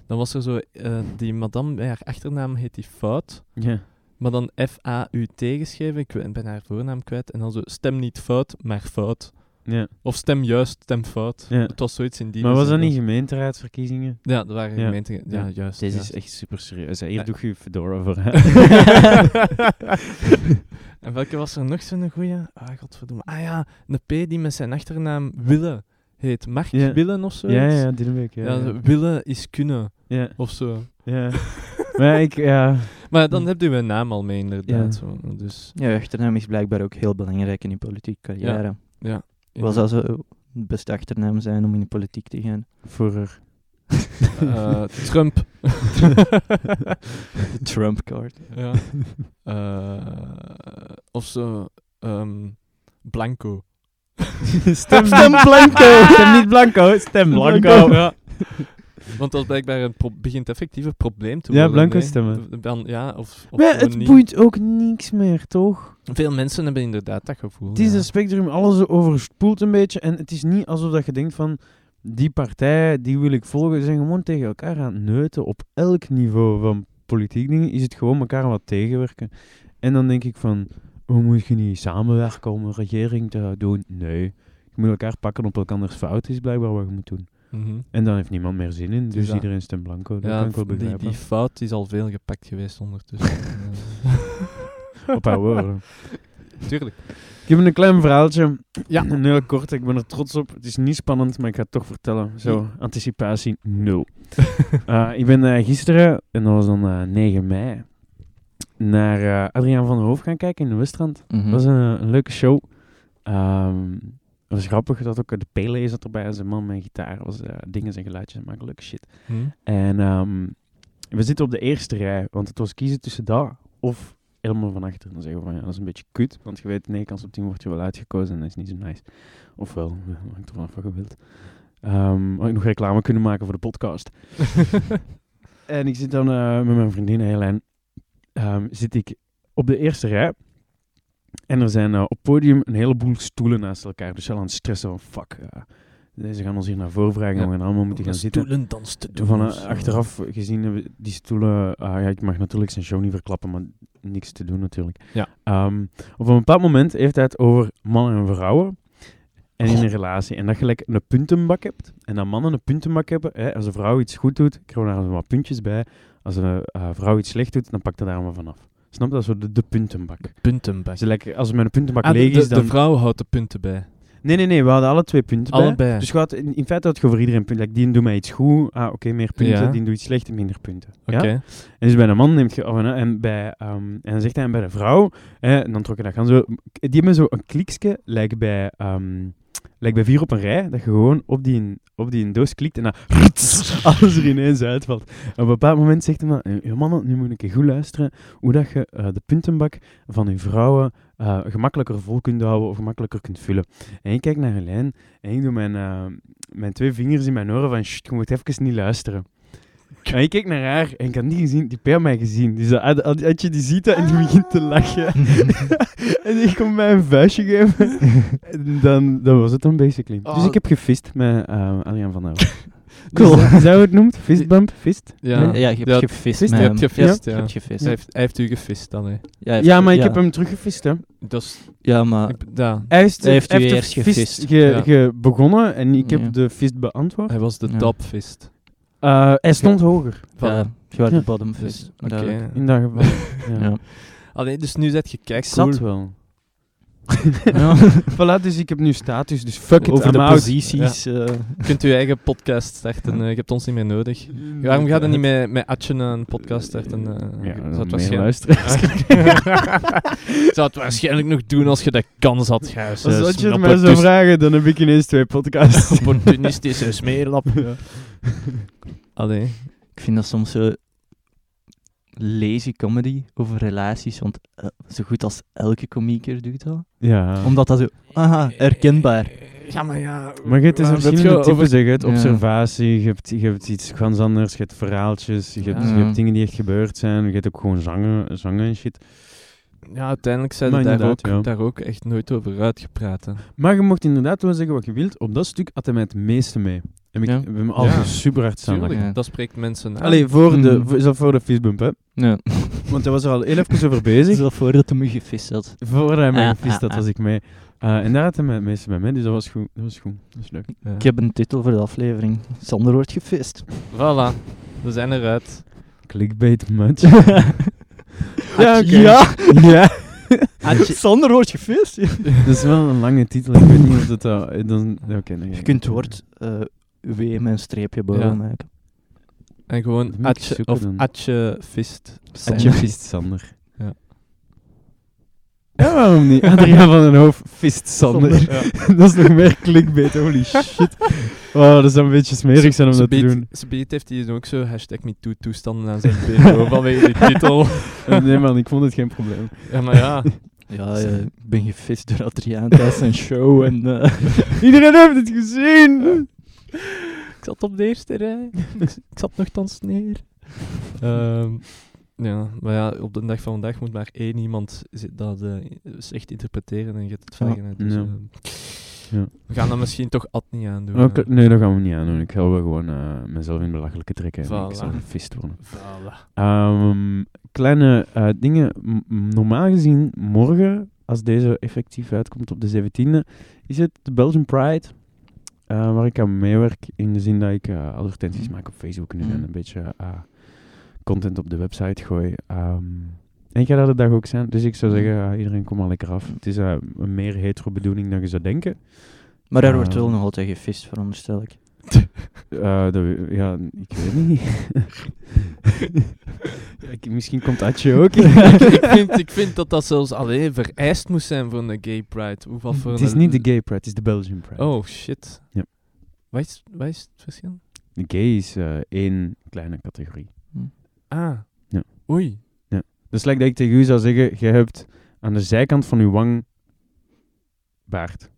Dan was er zo, eh, die madame, bij haar achternaam heet die Fout, Ja. maar dan F-A-U-T geschreven, ik we- ben haar voornaam kwijt, en dan zo stem niet fout, maar fout. ja. Of stem juist, stem fout. Ja. Het was zoiets in die Maar was dat niet zin. gemeenteraadsverkiezingen? Ja, dat waren Ja. gemeenten, ja, Ja. juist. Deze juist. is echt super serieus. Hier Ja. doe je je fedora voor. en welke was er nog zo'n goeie? Ah, godverdomme. Ah ja, een P die met zijn achternaam Wille heet. Mark Ja. Willen of zo? ja, ja, Dinnebeek. Ja, Ja, ja. zo, willen is kunnen, ja. of zo. ja. maar ik, ja. Maar dan heb je mijn naam al mee, inderdaad. Hm. Ja. Zo. Dus, Ja, achternaam is blijkbaar ook heel belangrijk in je politieke carrière. ja. Wat zou zo de beste achternaam zijn om in de politiek te gaan? Voor Eh, Trump. De Trump card. ja. Eh, of zo, ehm, Blanco. stem, stem blanco. stem niet blanco, stem blanco. Ja. Want dat is blijkbaar een pro- begint effectief een probleem te Ja, worden. blanco hè. stemmen. Dan, ja, of, of Maar gewoon het niet. boeit ook niks meer, toch? Veel mensen hebben inderdaad dat gevoel. Het is dus ja. een spectrum, alles overspoelt een beetje. En het is niet alsof dat je denkt van, die partij, die wil ik volgen. Ze zijn gewoon tegen elkaar aan het neuten. Op elk niveau van politiek dingen is het gewoon elkaar wat tegenwerken. En dan denk ik van, hoe moet je niet samenwerken om een regering te doen? Nee, je moet elkaar pakken op elkanders fout is blijkbaar wat je moet doen. Mhm. En dan heeft niemand meer zin in, dus Ja. iedereen stemt blanco. Dat Ja, kan ik wel die- die, begrijpen. fout is al veel gepakt geweest ondertussen. Ja. Op haar woorden. Tuurlijk. Ik heb een klein verhaaltje. Ja. Een heel kort, ik ben er trots op. Het is niet spannend, maar ik ga het toch vertellen. Zo, anticipatie nul. Eh, ik ben eh, gisteren, en dat was dan eh, 9 mei, naar eh, Adriaan van den Hoof gaan kijken in de Westrand. Mhm. Dat was een, een leuke show. Ehm, het was grappig dat ook eh, de Pele zat erbij. Zijn man met gitaar. was eh, dingen en geluidjes. Maar leuke shit. Hm? En ehm, we zitten op de eerste rij, want het was kiezen tussen dat of helemaal van achter. Dan zeggen we van ja, dat is een beetje kut, want je weet, 9 kans op 10 wordt je wel uitgekozen en dat is niet zo nice. Ofwel, hangt ervan af wat je wilt. ehm, ook nog reclame kunnen maken voor de podcast. En ik zit dan eh, met mijn vriendin Helen. ehm, zit ik op de eerste rij. En er zijn eh, op het podium een heleboel stoelen naast elkaar. Dus wel aan het stressen van fuck. eh, ze gaan ons hier naar voren vragen. En Ja. we gaan allemaal moeten gaan zitten. Stoelendans te doen. Van, eh, of zo. achteraf gezien, hebben we die stoelen... ah ja, ik mag natuurlijk zijn show niet verklappen, maar niks te doen natuurlijk. Ja. Ehm, op een bepaald moment heeft hij het over mannen en vrouwen. En Oh. in een relatie. En dat je like, een puntenbak hebt. En dat mannen een puntenbak hebben. Hè, als een vrouw iets goed doet, krijgen we daar wat puntjes bij. Als een eh, vrouw iets slecht doet, dan pakt hij daar maar vanaf. Snap je? Dat is zo de, de puntenbak. Puntenbak. Dus like, als mijn puntenbak Ah, de, leeg de, is, dan... de vrouw houdt de punten bij. Nee, nee, nee. We hadden alle twee punten bij. Allebei. Dus je had, in, in feite had je voor iedereen punten. Like, die doet mij iets goed, ah, oké, meer punten. Ja. Die doet iets slecht, minder punten. Oké. Ja? En dus bij een man neemt je af en, en bij, ehm, en dan zegt hij en bij de vrouw, eh, en dan trok je dat gaan zo. Die hebben zo een kliksje, lijkt bij, ehm, lijkt bij vier op een rij, dat je gewoon op die, op die doos klikt en dan alles er ineens uitvalt. En op een bepaald moment zegt hij dan, "Eh, mannen, nu moet ik een goed luisteren, hoe dat je eh, de puntenbak van uw vrouwen eh, gemakkelijker vol kunt houden of gemakkelijker kunt vullen. En ik kijk naar Helijn en ik doe mijn, eh, mijn twee vingers in mijn oren van, "Sst, je moet even niet luisteren. En ik keek naar haar en ik had niet gezien, die peer mij gezien. Dus dat- had, had- had je die ziet dat en die begint te lachen. en ik kon mij een vuistje geven. En dan, dan was het dan basically. Dus Oh. ik heb gevist met eh, Adriaan van der Hout. Cool. Is dat- Is dat hoe het noemt? Fistbump? Fist? Ja. Nee, Ja, je hebt Ja, gevist. vist, met je hem. hebt gevist, je ja. hebt gevist. Hij, heeft, hij heeft u gefist dan, hè. Ja, Eh, hij Ja, heeft- maar ik heb hem teruggevist, hè. Dus, Ja, maar... ik, ja, Hij heeft, Hij heeft u hij de eerst fist gevist. ge- Ja. ge- begonnen en ik heb Ja. de fist beantwoord. hij was de Ja. topfist. Eh, hij stond hoger, Van- ja, je was de Ja. bottom Dus, fist. Oké. duidelijk. in dat geval. Ja. Ja. Allee, dus nu zet je kijk Zat wel. voilà, dus ik heb nu status, dus fuck it, Over I'm de out. posities. eh, Je kunt je eigen podcast starten. eh, je hebt ons niet meer nodig. Waarom gaat er niet met, met Atje een podcast starten? eh? Ja, Je dan zou het meer waarschijnlijk... luisteraars. Je zou het waarschijnlijk nog doen als je de kans had, Gijs. Als Eh, dat je het mij zou opportunistisch- vragen, dan heb ik ineens twee podcasts. Opportunistische smeerlap. Allee. Ik vind dat soms zo lazy comedy over relaties, want eh, zo goed als elke komieker doet dat. ja. Omdat dat zo, Ah, aha, herkenbaar. Eh, Ja, maar ja... eh, Maar je hebt dus waar- een weet je verschillende over- types. hè. Je hebt Ja. observatie, je hebt, je hebt iets ganz anders, je hebt verhaaltjes, je hebt, Ja. je hebt dingen die echt gebeurd zijn, je hebt ook gewoon zangen, zangen en shit. Ja, uiteindelijk zijn Maar we daar ook, inderdaad, ja. daar ook echt nooit over uitgepraat. hè. Maar je mocht inderdaad wel zeggen wat je wilt. Op dat stuk had hij mij het meeste mee. Heb ik Ja. heb hem altijd Ja. super hard staan. Tuurlijk, Ja. dat spreekt mensen aan. Allee, voor de, Mm. voor, is dat voor de fistbump, hè? Nee, Want hij was er al heel even over het is bezig. wel voordat hij me gevist had. Voordat hij mij Ah, gevist had, ah, was ik mee. Eh, en daar had hij mij het meeste bij mee, dus dat was goed. Dat was goed. Dat is leuk. Ja. Ik heb een titel voor de aflevering. Sander wordt gevist. Voilà, we zijn eruit. Clickbait much. Ja, oké. ja. ja. Sander wordt gevist. Dat is wel een lange titel. Ik weet niet of dat... dat eh, dan, oké, dan ga Je ik- kunt het woord eh W met een streepje boven Ja. maken. En Dat gewoon moet ik atje, zoeken of dan. atje fist. Atje Fist Sander. Ja. Ja, waarom niet? Adriaan van den Hoof, Fist Sander. dat is nog meer clickbait, holy shit. Wow, dat zou een beetje smerig zijn om dat te Ze- ze doen. biedt- Ze biedt heeft hij dus ook zo hashtag MeToo toestanden aan zijn BO vanwege die titel. Eh, Nee man, ik vond het geen probleem. Ja, maar ja. Ja, eh, ik ben gevist door Adriaan tijdens zijn show en... eh, Iedereen heeft het gezien! Ik zat op de eerste rij. ik, zat nogthans neer. Ehm, ja, maar ja, op de dag van vandaag moet maar één iemand zi- dat eh, slecht interpreteren en je hebt het Ja. veiligheid. Dus, Ja. eh, Ja. We gaan dat misschien toch Ad niet aandoen. Oké, eh. nee, dat gaan we niet aan doen. Ik ga wel gewoon eh, mezelf in belachelijke trekken. en Voilà. Ik zal gefist worden. Voilà. Ehm, kleine eh, dingen. M- m- normaal gezien, morgen, als deze effectief uitkomt op de 17e, is het de Belgian Pride. eh, waar ik aan meewerk in de zin dat ik eh, advertenties Mhm. maak op Facebook nu Mhm. en een beetje eh, content op de website gooi. Ehm, en ik ga daar de dag ook zijn, dus ik zou Mhm. zeggen, eh, iedereen kom maar lekker af. Het is eh, een meer hetero bedoeling dan je zou denken. maar daar wordt Ah. wel nog altijd gevist, veronderstel ik. Eh, dat we- ja, ik weet niet. Ja, ik- misschien komt Atje ook. ik, ik vind, ik vind dat dat zelfs alleen vereist moest zijn voor een gay pride. Hoeveel voor Het is een- niet de gay pride, het is de Belgian pride. Oh, shit. Ja. Wat is, wat is het verschil? De gay is eh, één kleine categorie. Ah. Ja. Oei. Dus lijkt dat ik tegen u zou zeggen, je hebt aan de zijkant van uw wang baard.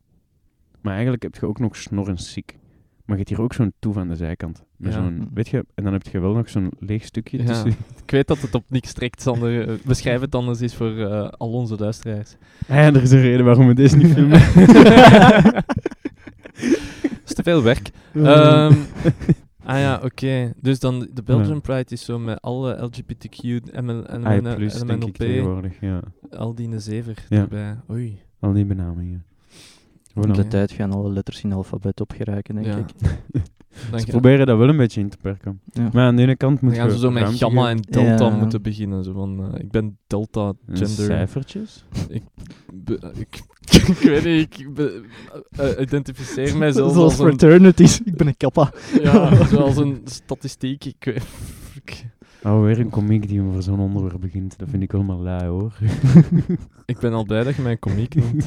Maar eigenlijk heb je ook nog snor en siek. Maar je hebt hier ook zo'n toef aan de zijkant. Met Ja. zo'n, weet je, en dan heb je wel nog zo'n leeg stukje Ja. tussen. Ik weet dat het op niks trekt, Sander. Eh, Beschrijf het anders eens voor eh, al onze luisteraars. En er is een reden waarom we deze niet filmen. Dat is te veel werk. Ehm, ah ja, oké. Dus dan de Belgian Ja. Pride is zo met alle LGBTQ, ML, en I plus, denk ik tegenwoordig, ja. al die een zever Ja. erbij. Oei. Al die benamingen. Voilà. Met de Ja. tijd gaan alle letters in alfabet opgeruiken, denk Ja. ik. Dan, Ze ga- proberen dat wel een beetje in te perken. Ja. Maar aan de ene kant dan moet gaan je... ze zo met ruimte gamma geven. en delta Ja. moeten beginnen. Zo van, eh, ik ben delta gender. cijfertjes? Be- eh, ik, ik weet niet, ik be- eh, eh, identificeer mijzelf Zoals als een fraternities. Ik ben een kappa. Ja, zoals een statistiek. Ik, weet- ik, Oh, weer een komiek die over zo'n onderwerp begint. Dat vind ik allemaal lui, hoor. ik ben al blij dat je mij een komiek noemt.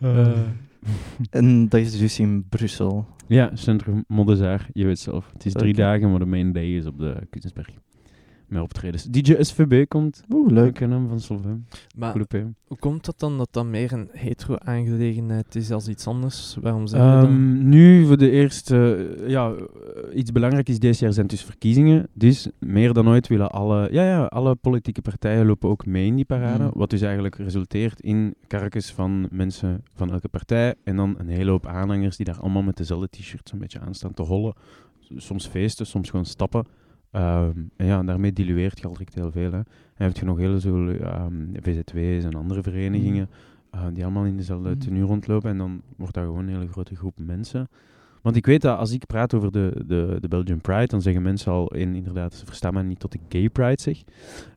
Eh, En dat is dus in Brussel. Ja, Centrum Moddezaar, je weet zelf. Het is drie Oké. dagen, maar de main day is op de Kunstensberg. Met optredens. DJ SVB komt. Oeh, leuk. Ah. Leuke naam van Solvem. maar Goede PM. hoe komt dat dan dat dat meer een hetero-aangelegenheid is als iets anders? Waarom zeg je dat? Ehm, nu voor de eerste, eh, ja, eh, iets belangrijk is deze jaar zijn dus verkiezingen. Dus meer dan ooit willen alle, ja, ja, alle politieke partijen lopen ook mee in die parade. Mm. Wat dus eigenlijk resulteert in karkens van mensen van elke partij. En dan een hele hoop aanhangers die daar allemaal met dezelfde t-shirts een beetje aan staan te hollen. S- Soms feesten, soms gewoon stappen. Ehm, en ja, en daarmee dilueert je al direct heel veel. Hè. En heb je nog heel veel ehm VZW's en andere verenigingen eh, die allemaal in dezelfde Mhm. tenue rondlopen. En dan wordt daar gewoon een hele grote groep mensen. Want ik weet dat als ik praat over de, de, de Belgian Pride, dan zeggen mensen al in, inderdaad, ze verstaan mij niet tot ik gay pride zeg.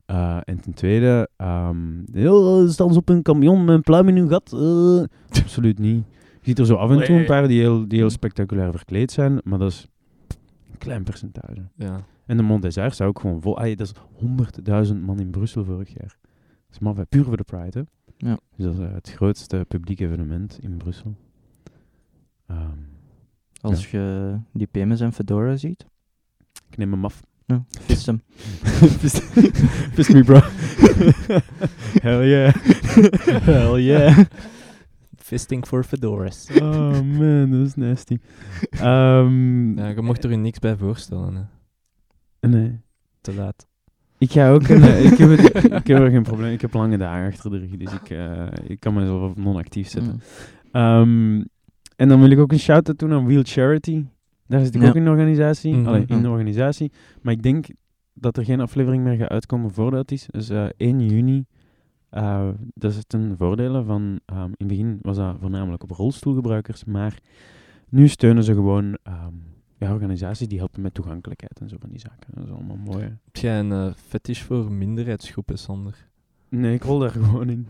Eh, en ten tweede, ehm "Yo, staan ze op een camion met een pluim in hun gat? Eh, absoluut niet. Je ziet er zo af en toe een paar die heel, die heel spectaculair verkleed zijn, maar dat is een klein percentage. Ja. En de Mont des Arts zou ook gewoon vol. Ah, dat is 100.000 man in Brussel vorig jaar. Dat is maf, hè. puur voor de Pride. Hè? Ja. Dus dat is eh, het grootste publiek evenement in Brussel. Ehm, Als je die PM's en Fedora ziet. ik neem hem af. Ja, vist hem. Fist fist me, bro. Hell yeah. Hell yeah. Fisting for fedoras. Oh man, dat is nasty. Ehm, Ja, je mocht er je niks bij voorstellen. Hè. Nee. Te laat. Ik ga ook. een, eh, ik, heb het, ik heb er geen probleem. Ik heb lange dagen achter de rug, dus ik, eh, ik kan mezelf op non-actief zetten. Mm. Ehm, en dan wil ik ook een shout-out doen aan Wheel Charity. Daar zit ik Ja. ook in de organisatie. Mhm. Allee, in de Mhm. organisatie. Maar ik denk dat er geen aflevering meer gaat uitkomen voordat het is. Dus eh, 1 juni. eh, dat is ten voordele van... ehm, in het begin was dat voornamelijk op rolstoelgebruikers. Maar nu steunen ze gewoon... ehm, ja, organisaties die helpen met toegankelijkheid en zo van die zaken. Dat is allemaal mooi. hè. Heb jij een eh, fetish voor minderheidsgroepen, Sander? Nee, ik rol daar gewoon in.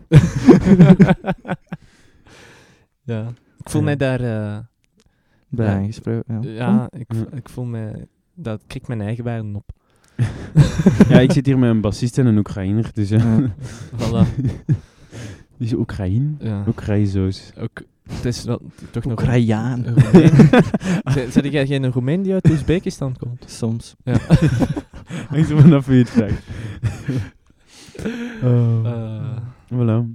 ja. Ik voel mij daar... eh, Bij Ja. aangesproken. Ja. Ja, ik, Ja. vo- ik voel me... Dat krikt mijn eigen waarden op. ja, ik zit hier met een bassist en een Oekraïner. Dus ja. Ja. Voilà. Die is Oekraïn. Ja. Oekraïzoos. Ook, het is wel- toch nog... Oekraïaan. een Roemeen. Z- Zijn jij geen Roemeen die uit Oezbekistan komt? Soms. Hangt er vanaf wie je het vraagt. Eh, Voilà.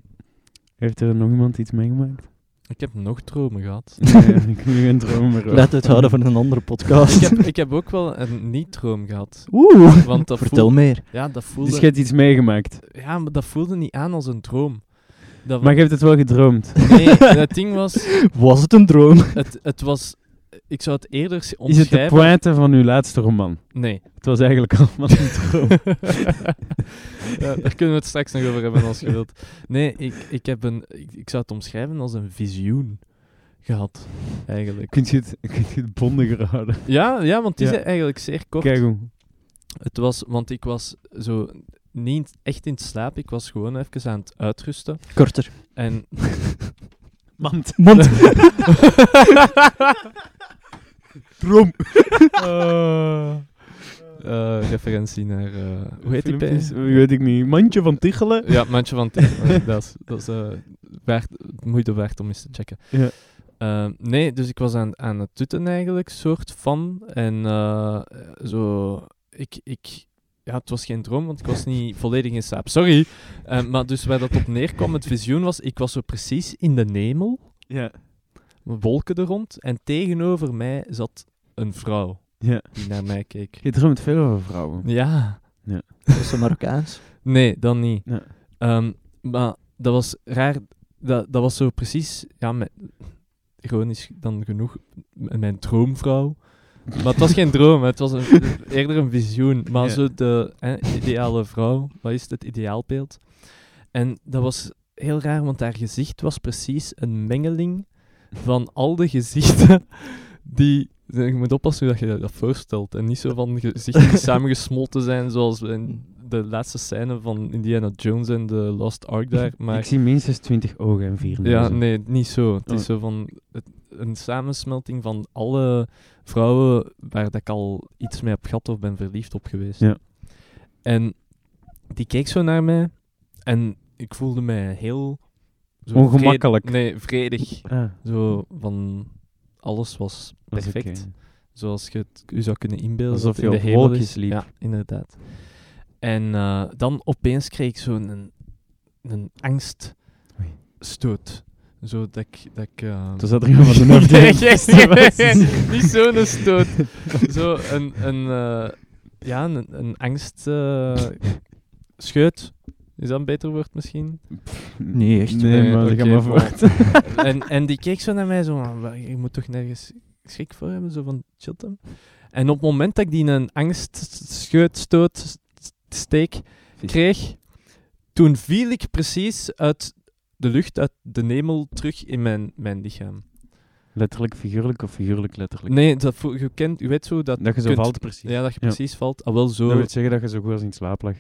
Heeft er nog iemand iets meegemaakt? ik heb nog dromen gehad. Nee, ik wil geen dromer. Laat het houden van een andere podcast. ik, heb, ik heb ook wel een niet-droom gehad. Oeh. Want dat Vertel voel- meer. ja, dat voelde, Dus je hebt iets meegemaakt. ja, maar dat voelde niet aan als een droom. Dat Maar je hebt het wel gedroomd. nee, het ding was... Was het een droom? Het, het was... Ik zou het eerder s- Is het de omschrijven... pointe van uw laatste roman? Nee. Het was eigenlijk allemaal een droom. ja, daar kunnen we het straks nog over hebben als je wilt. Nee, ik, ik, heb een, ik, ik zou het omschrijven als een visioen gehad, eigenlijk. Kunt je het, kunt je het bondiger houden? Ja, ja want die Ja. is eigenlijk zeer kort. Kijk hoe. Het was, want ik was zo niet echt in het slaap, ik was gewoon even aan het uitrusten. Korter. En... Mand. Want Droom. Oh. Eh, eh, referentie naar... eh, hoe heet die pijn? Filmpjes? Weet ik niet. Mandje van Tichelen. Ja, Mandje van Tichelen. dat is, dat is eh, waard, moeite waard om eens te checken. Ja. Eh, nee, dus ik was aan, aan het tutten eigenlijk, soort van. En eh, zo, ik, ik, ja, het was geen droom, want ik was niet volledig in slaap. Sorry. Eh, maar dus waar dat op neerkwam, het visioen was, ik was zo precies in de nemel. Ja. wolken er rond. En tegenover mij zat een vrouw Ja. die naar mij keek. Je droomt veel over vrouwen. Ja, Was ze Marokkaans? nee, dan niet. Ja. Ehm, maar dat was raar. Dat, dat was zo precies, ja, met, gewoon is dan genoeg, m- mijn droomvrouw. Maar het was geen droom, hè, het was een, eerder een visioen. Maar Ja. zo de hè, ideale vrouw, wat is het, het ideaalbeeld. En dat was heel raar, want haar gezicht was precies een mengeling van al de gezichten die... Je moet oppassen hoe dat je dat- dat voorstelt. En niet zo van gezichten die samengesmolten zijn, zoals in de laatste scène van Indiana Jones en de Lost Ark daar. Maar Ik zie minstens 20 ogen en vier ja, neuzen. nee, niet zo. Het is Oh. zo van het- een samensmelting van alle vrouwen waar dat ik al iets mee heb gehad of ben verliefd op geweest. Ja. En die keek zo naar mij en ik voelde mij heel zo Ongemakkelijk. vredig- nee, vredig. Ah, Zo van alles was was perfect. oké. Zoals je het u zou kunnen inbeelden. Alsof je dat in op de hemel wolkjes is. liep. Ja, inderdaad. En eh, dan opeens kreeg ik zo'n een, een Oei. angststoot. Zo dat ik... Dat ik eh, Toen zat er iemand van de Nee, Noord. nee, nee, nee, Niet zo'n stoot. Zo een... een eh, ja, een, een angst... eh, scheut. Is dat een beter woord misschien? Nee, echt. Nee, eh, Nee, maar ik ga oké, maar bon. voort. en, en die keek zo naar mij, zo van, "Wa- je moet toch nergens schrik voor hebben, zo van, chill hem. En op het moment dat ik die een angstscheutstoot steek kreeg, toen viel ik precies uit de lucht, uit de nemel, terug in mijn, mijn lichaam. Letterlijk, figuurlijk of figuurlijk letterlijk? Nee, dat, voel- je, kent, je weet zo dat... Dat je zo kunt- valt precies. Ja, dat je Ja. precies valt. Ah, wel zo... Dat wil zeggen dat je zo goed als in slaap lag.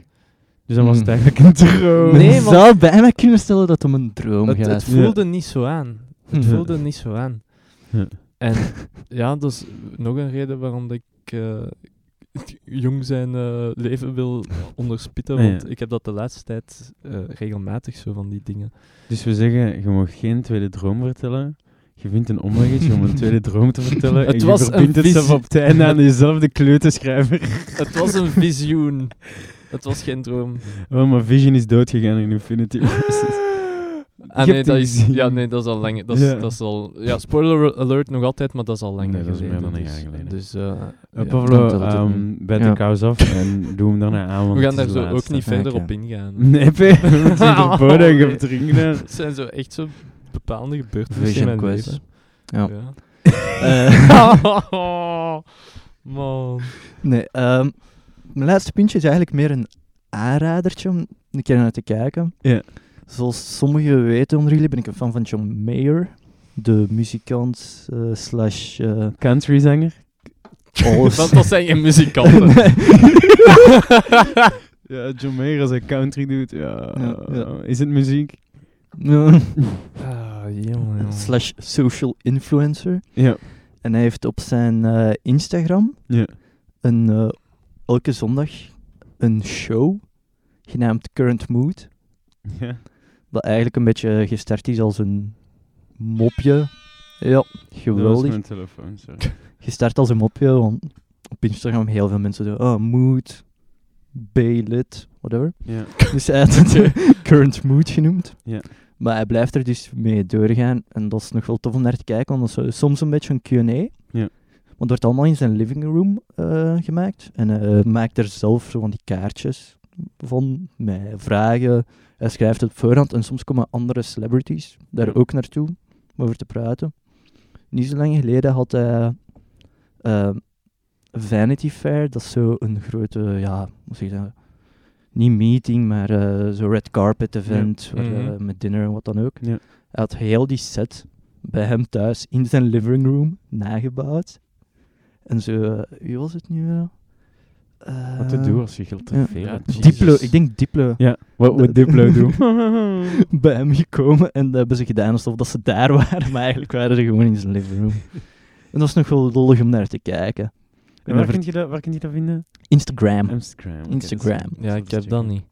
Dus dan was het Hmm. eigenlijk een droom. Men Nee, want- zou bijna kunnen stellen dat het om een droom Het, gaat. het voelde niet zo aan. Het Ja. voelde niet zo aan. Ja. En ja, dat is nog een reden waarom dat ik eh, jong zijn eh, leven wil onderspitten. Ah, ja. Want ik heb dat de laatste tijd eh, regelmatig zo van die dingen. Dus we zeggen, je mag geen tweede droom vertellen. Je vindt een omweggetje om een tweede droom te vertellen. Het en was je verbindt een het zelf visie. op het einde aan dezelfde kleuterschrijver. Het was een visioen. Het was geen droom. Oh, maar Vision is doodgegaan in Infinity. Crisis. Je Ah, nee, hebt dat die is, gezien. ja, nee, dat is al lang. Dat is, Ja. dat is al, ja, spoiler alert nog altijd, maar dat is al lang Nee, dat is meer geleden, dan een dus- jaar geleden. Dus, eh, Eh, ja. Pablo, dat het ehm, bijt de Ja. kous af en doe hem daarna aan. want we gaan het daar is zo de ook laatste. niet verder oké. op ingaan. Nee, P, we moeten Oh, ervoor dat je nee. hem drinken. Het zijn zo echt zo bepaalde gebeurtenissen in Vision mijn Quest. leven. Ja. Ja. Eh, Man. Nee, ehm, mijn laatste puntje is eigenlijk meer een aanradertje om een keer naar te kijken. Ja. Zoals sommigen weten onder jullie ben ik een fan van John Mayer, de muzikant eh, slash eh, Countryzanger. alles. Want dat zijn geen muzikanten. Ja, John Mayer als hij country doet. Ja, Ja, ja. Is het muziek? Ah, jongen, jongen. eh, slash social influencer. Ja. En hij heeft op zijn eh, Instagram Ja. een, eh, elke zondag een show genaamd Current Mood. ja. Wat eigenlijk een beetje gestart is als een mopje. Ja, Dat was geweldig. mijn telefoon, sorry. Gestart als een mopje, want op Instagram heel veel mensen doen, oh, mood, B-lit, whatever. Ja. Dus hij had het current mood genoemd. Ja. Maar hij blijft er dus mee doorgaan. En dat is nog wel tof om naar te kijken, want dat is eh, soms een beetje een Q&A. Ja. Want het wordt allemaal in zijn living room eh, gemaakt. En eh, hij maakt er zelf zo van die kaartjes van, met vragen. Hij schrijft het op voorhand. En soms komen andere celebrities daar Ja. ook naartoe om over te praten. Niet zo lang geleden had hij eh, Vanity Fair. Dat is zo een grote, ja, hoe zeg je dat? Niet meeting, maar eh zo red carpet event waar, eh, Mhm. met dinner en wat dan ook. Ja. Hij had heel die set bij hem thuis in zijn living room nagebouwd. En zo, eh, wie was het nu? wel? Eh, Wat te doen als je geld te ja. veel Ja, hebt. die- Diplo, Jezus. ik denk Diplo. Ja, wat Dat- moet Diplo doen? bij hem gekomen en dat hebben ze gedaan alsof dat ze daar waren, maar eigenlijk waren ze gewoon in zijn living room. En dat is nog wel lollig om naar te kijken. En En waar, over- kun je dat, waar kun je dat vinden? Instagram. Instagram. oké, dat is- Instagram. is Ja, wel ik heb checken. dat niet.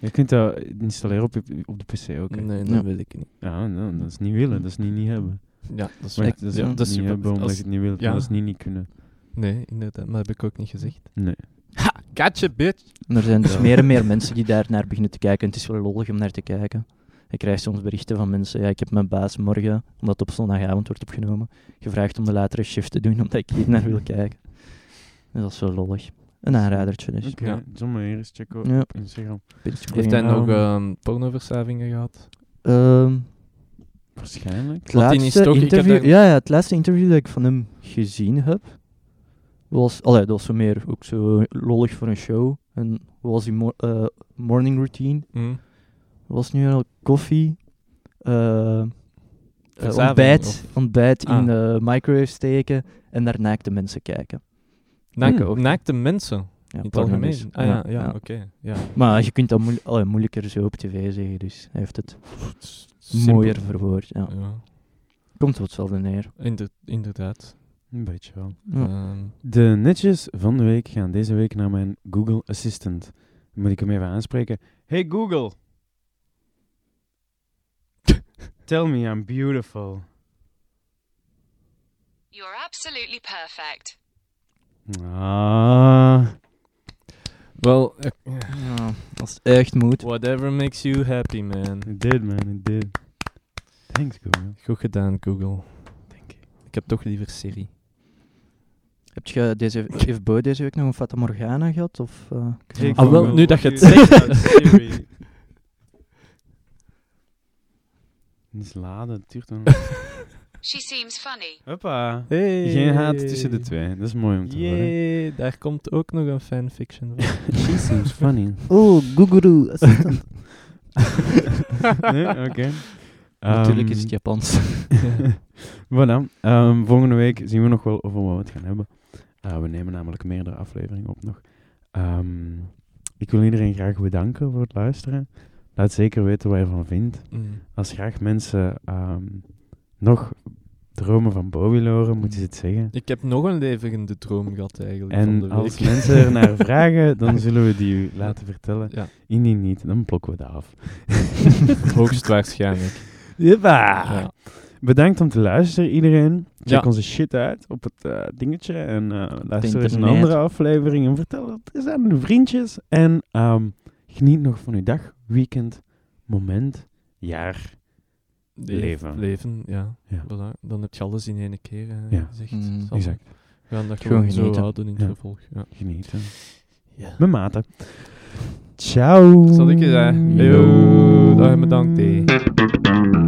Je kunt dat installeren op, je- op de PC ook. hè? Nee, dat Ja. wil ik niet. Ja, nou, dat is niet willen, dat is niet niet hebben. Ja, dat is Maar Ja, dat is ja, niet dat is super- hebben omdat als- je het niet wilt, maar ja. dat is niet niet kunnen. Nee, inderdaad, maar dat heb ik ook niet gezegd. Nee. Gotcha, bitch! En er zijn dus Ja. meer en meer mensen die daar naar beginnen te kijken. En het is wel lollig om naar te kijken. En Ik krijg soms berichten van mensen, ja, ik heb mijn baas morgen, omdat het op zondagavond wordt opgenomen, gevraagd om de latere shift te doen, omdat ik hier naar wil kijken. Dus dat is wel lollig. Een aanradertje dus. Oké, Ja. John Mayer check op Ja. Instagram. Heeft hij nog Ehm, ehm pornoverslavingen gehad? ehm, Waarschijnlijk. het Want die laatste is toch- ik heb interview, daar- ja, ja, het laatste interview dat ik van hem gezien heb, was, allee, dat was zo meer ook zo lollig voor een show. En wat was die mor- eh, morning routine? Hm? was nu al koffie, eh, eh, Verzadigen, ontbijt, of- ontbijt Ah. in de microwave steken en naar naakte mensen kijken. Naak- ook. naakte mensen, Ja, in het porno algemeen. dus. Ah ja, ja, oké. Ja. Maar je kunt dat moe- allee, moeilijker zo op tv zeggen, dus hij heeft het Simpel. mooier verwoord. Ja. Ja, Komt op hetzelfde neer. inder- inderdaad. Een beetje wel. Ja. Ehm, De netjes van de week gaan deze week naar mijn Google Assistant. Moet ik hem even aanspreken? Hey Google. Tell me I'm beautiful. You're absolutely perfect. Ah. Wel, eh, Ja, als het echt moet. whatever makes you happy, man. It did, man. It did. Thanks, Google. Goed gedaan, Google. Denk ik. ik heb toch liever Siri. Heb je deze, heeft Bo deze week nog een Fata Morgana gehad? Of, eh, kun je Hey, nog- Ah, wel, Google, nu dat what je do het you zegt. think about Siri? Het is laden, het duurt dan. She seems funny. Hoppa. Hey. Geen haat tussen de twee. Dat is mooi om te horen. Jee, daar komt ook nog een fanfiction van. She seems funny. Oh, Google Assistant. nee, oké. Natuurlijk Ehm, is het Japans. Voilà. Ehm, volgende week zien we nog wel over wat we het gaan hebben. Eh, we nemen namelijk meerdere afleveringen op nog. Ehm, ik wil iedereen graag bedanken voor het luisteren. Laat zeker weten wat je ervan vindt. Mm. Als graag mensen ehm, nog dromen van Bo willen horen, moeten ze het zeggen. Ik heb nog een leverende droom gehad eigenlijk. van de En week. als mensen er naar vragen, dan zullen we die u laten vertellen. Ja. Indien niet, dan blokken we dat af. Hoogstwaarschijnlijk. Jeppa! Ja. Bedankt om te luisteren, iedereen. Check Ja. onze shit uit op het eh, dingetje. En eh luister eens een internet. andere aflevering. En vertel het eens aan uw vriendjes. En ehm, geniet nog van uw dag, weekend, moment, jaar. Leven. Leven, ja. Ja. Voilà. Dan heb je alles in één keer eh, Ja. gezegd. Mm. Zal- Exact. We gaan dat Gewoon gewoon, zo genieten. houden in het Ja. vervolg. Ja. Genieten. Met mate. Ciao. Zal ik je zeggen? Yo, dag en bedankt. hè.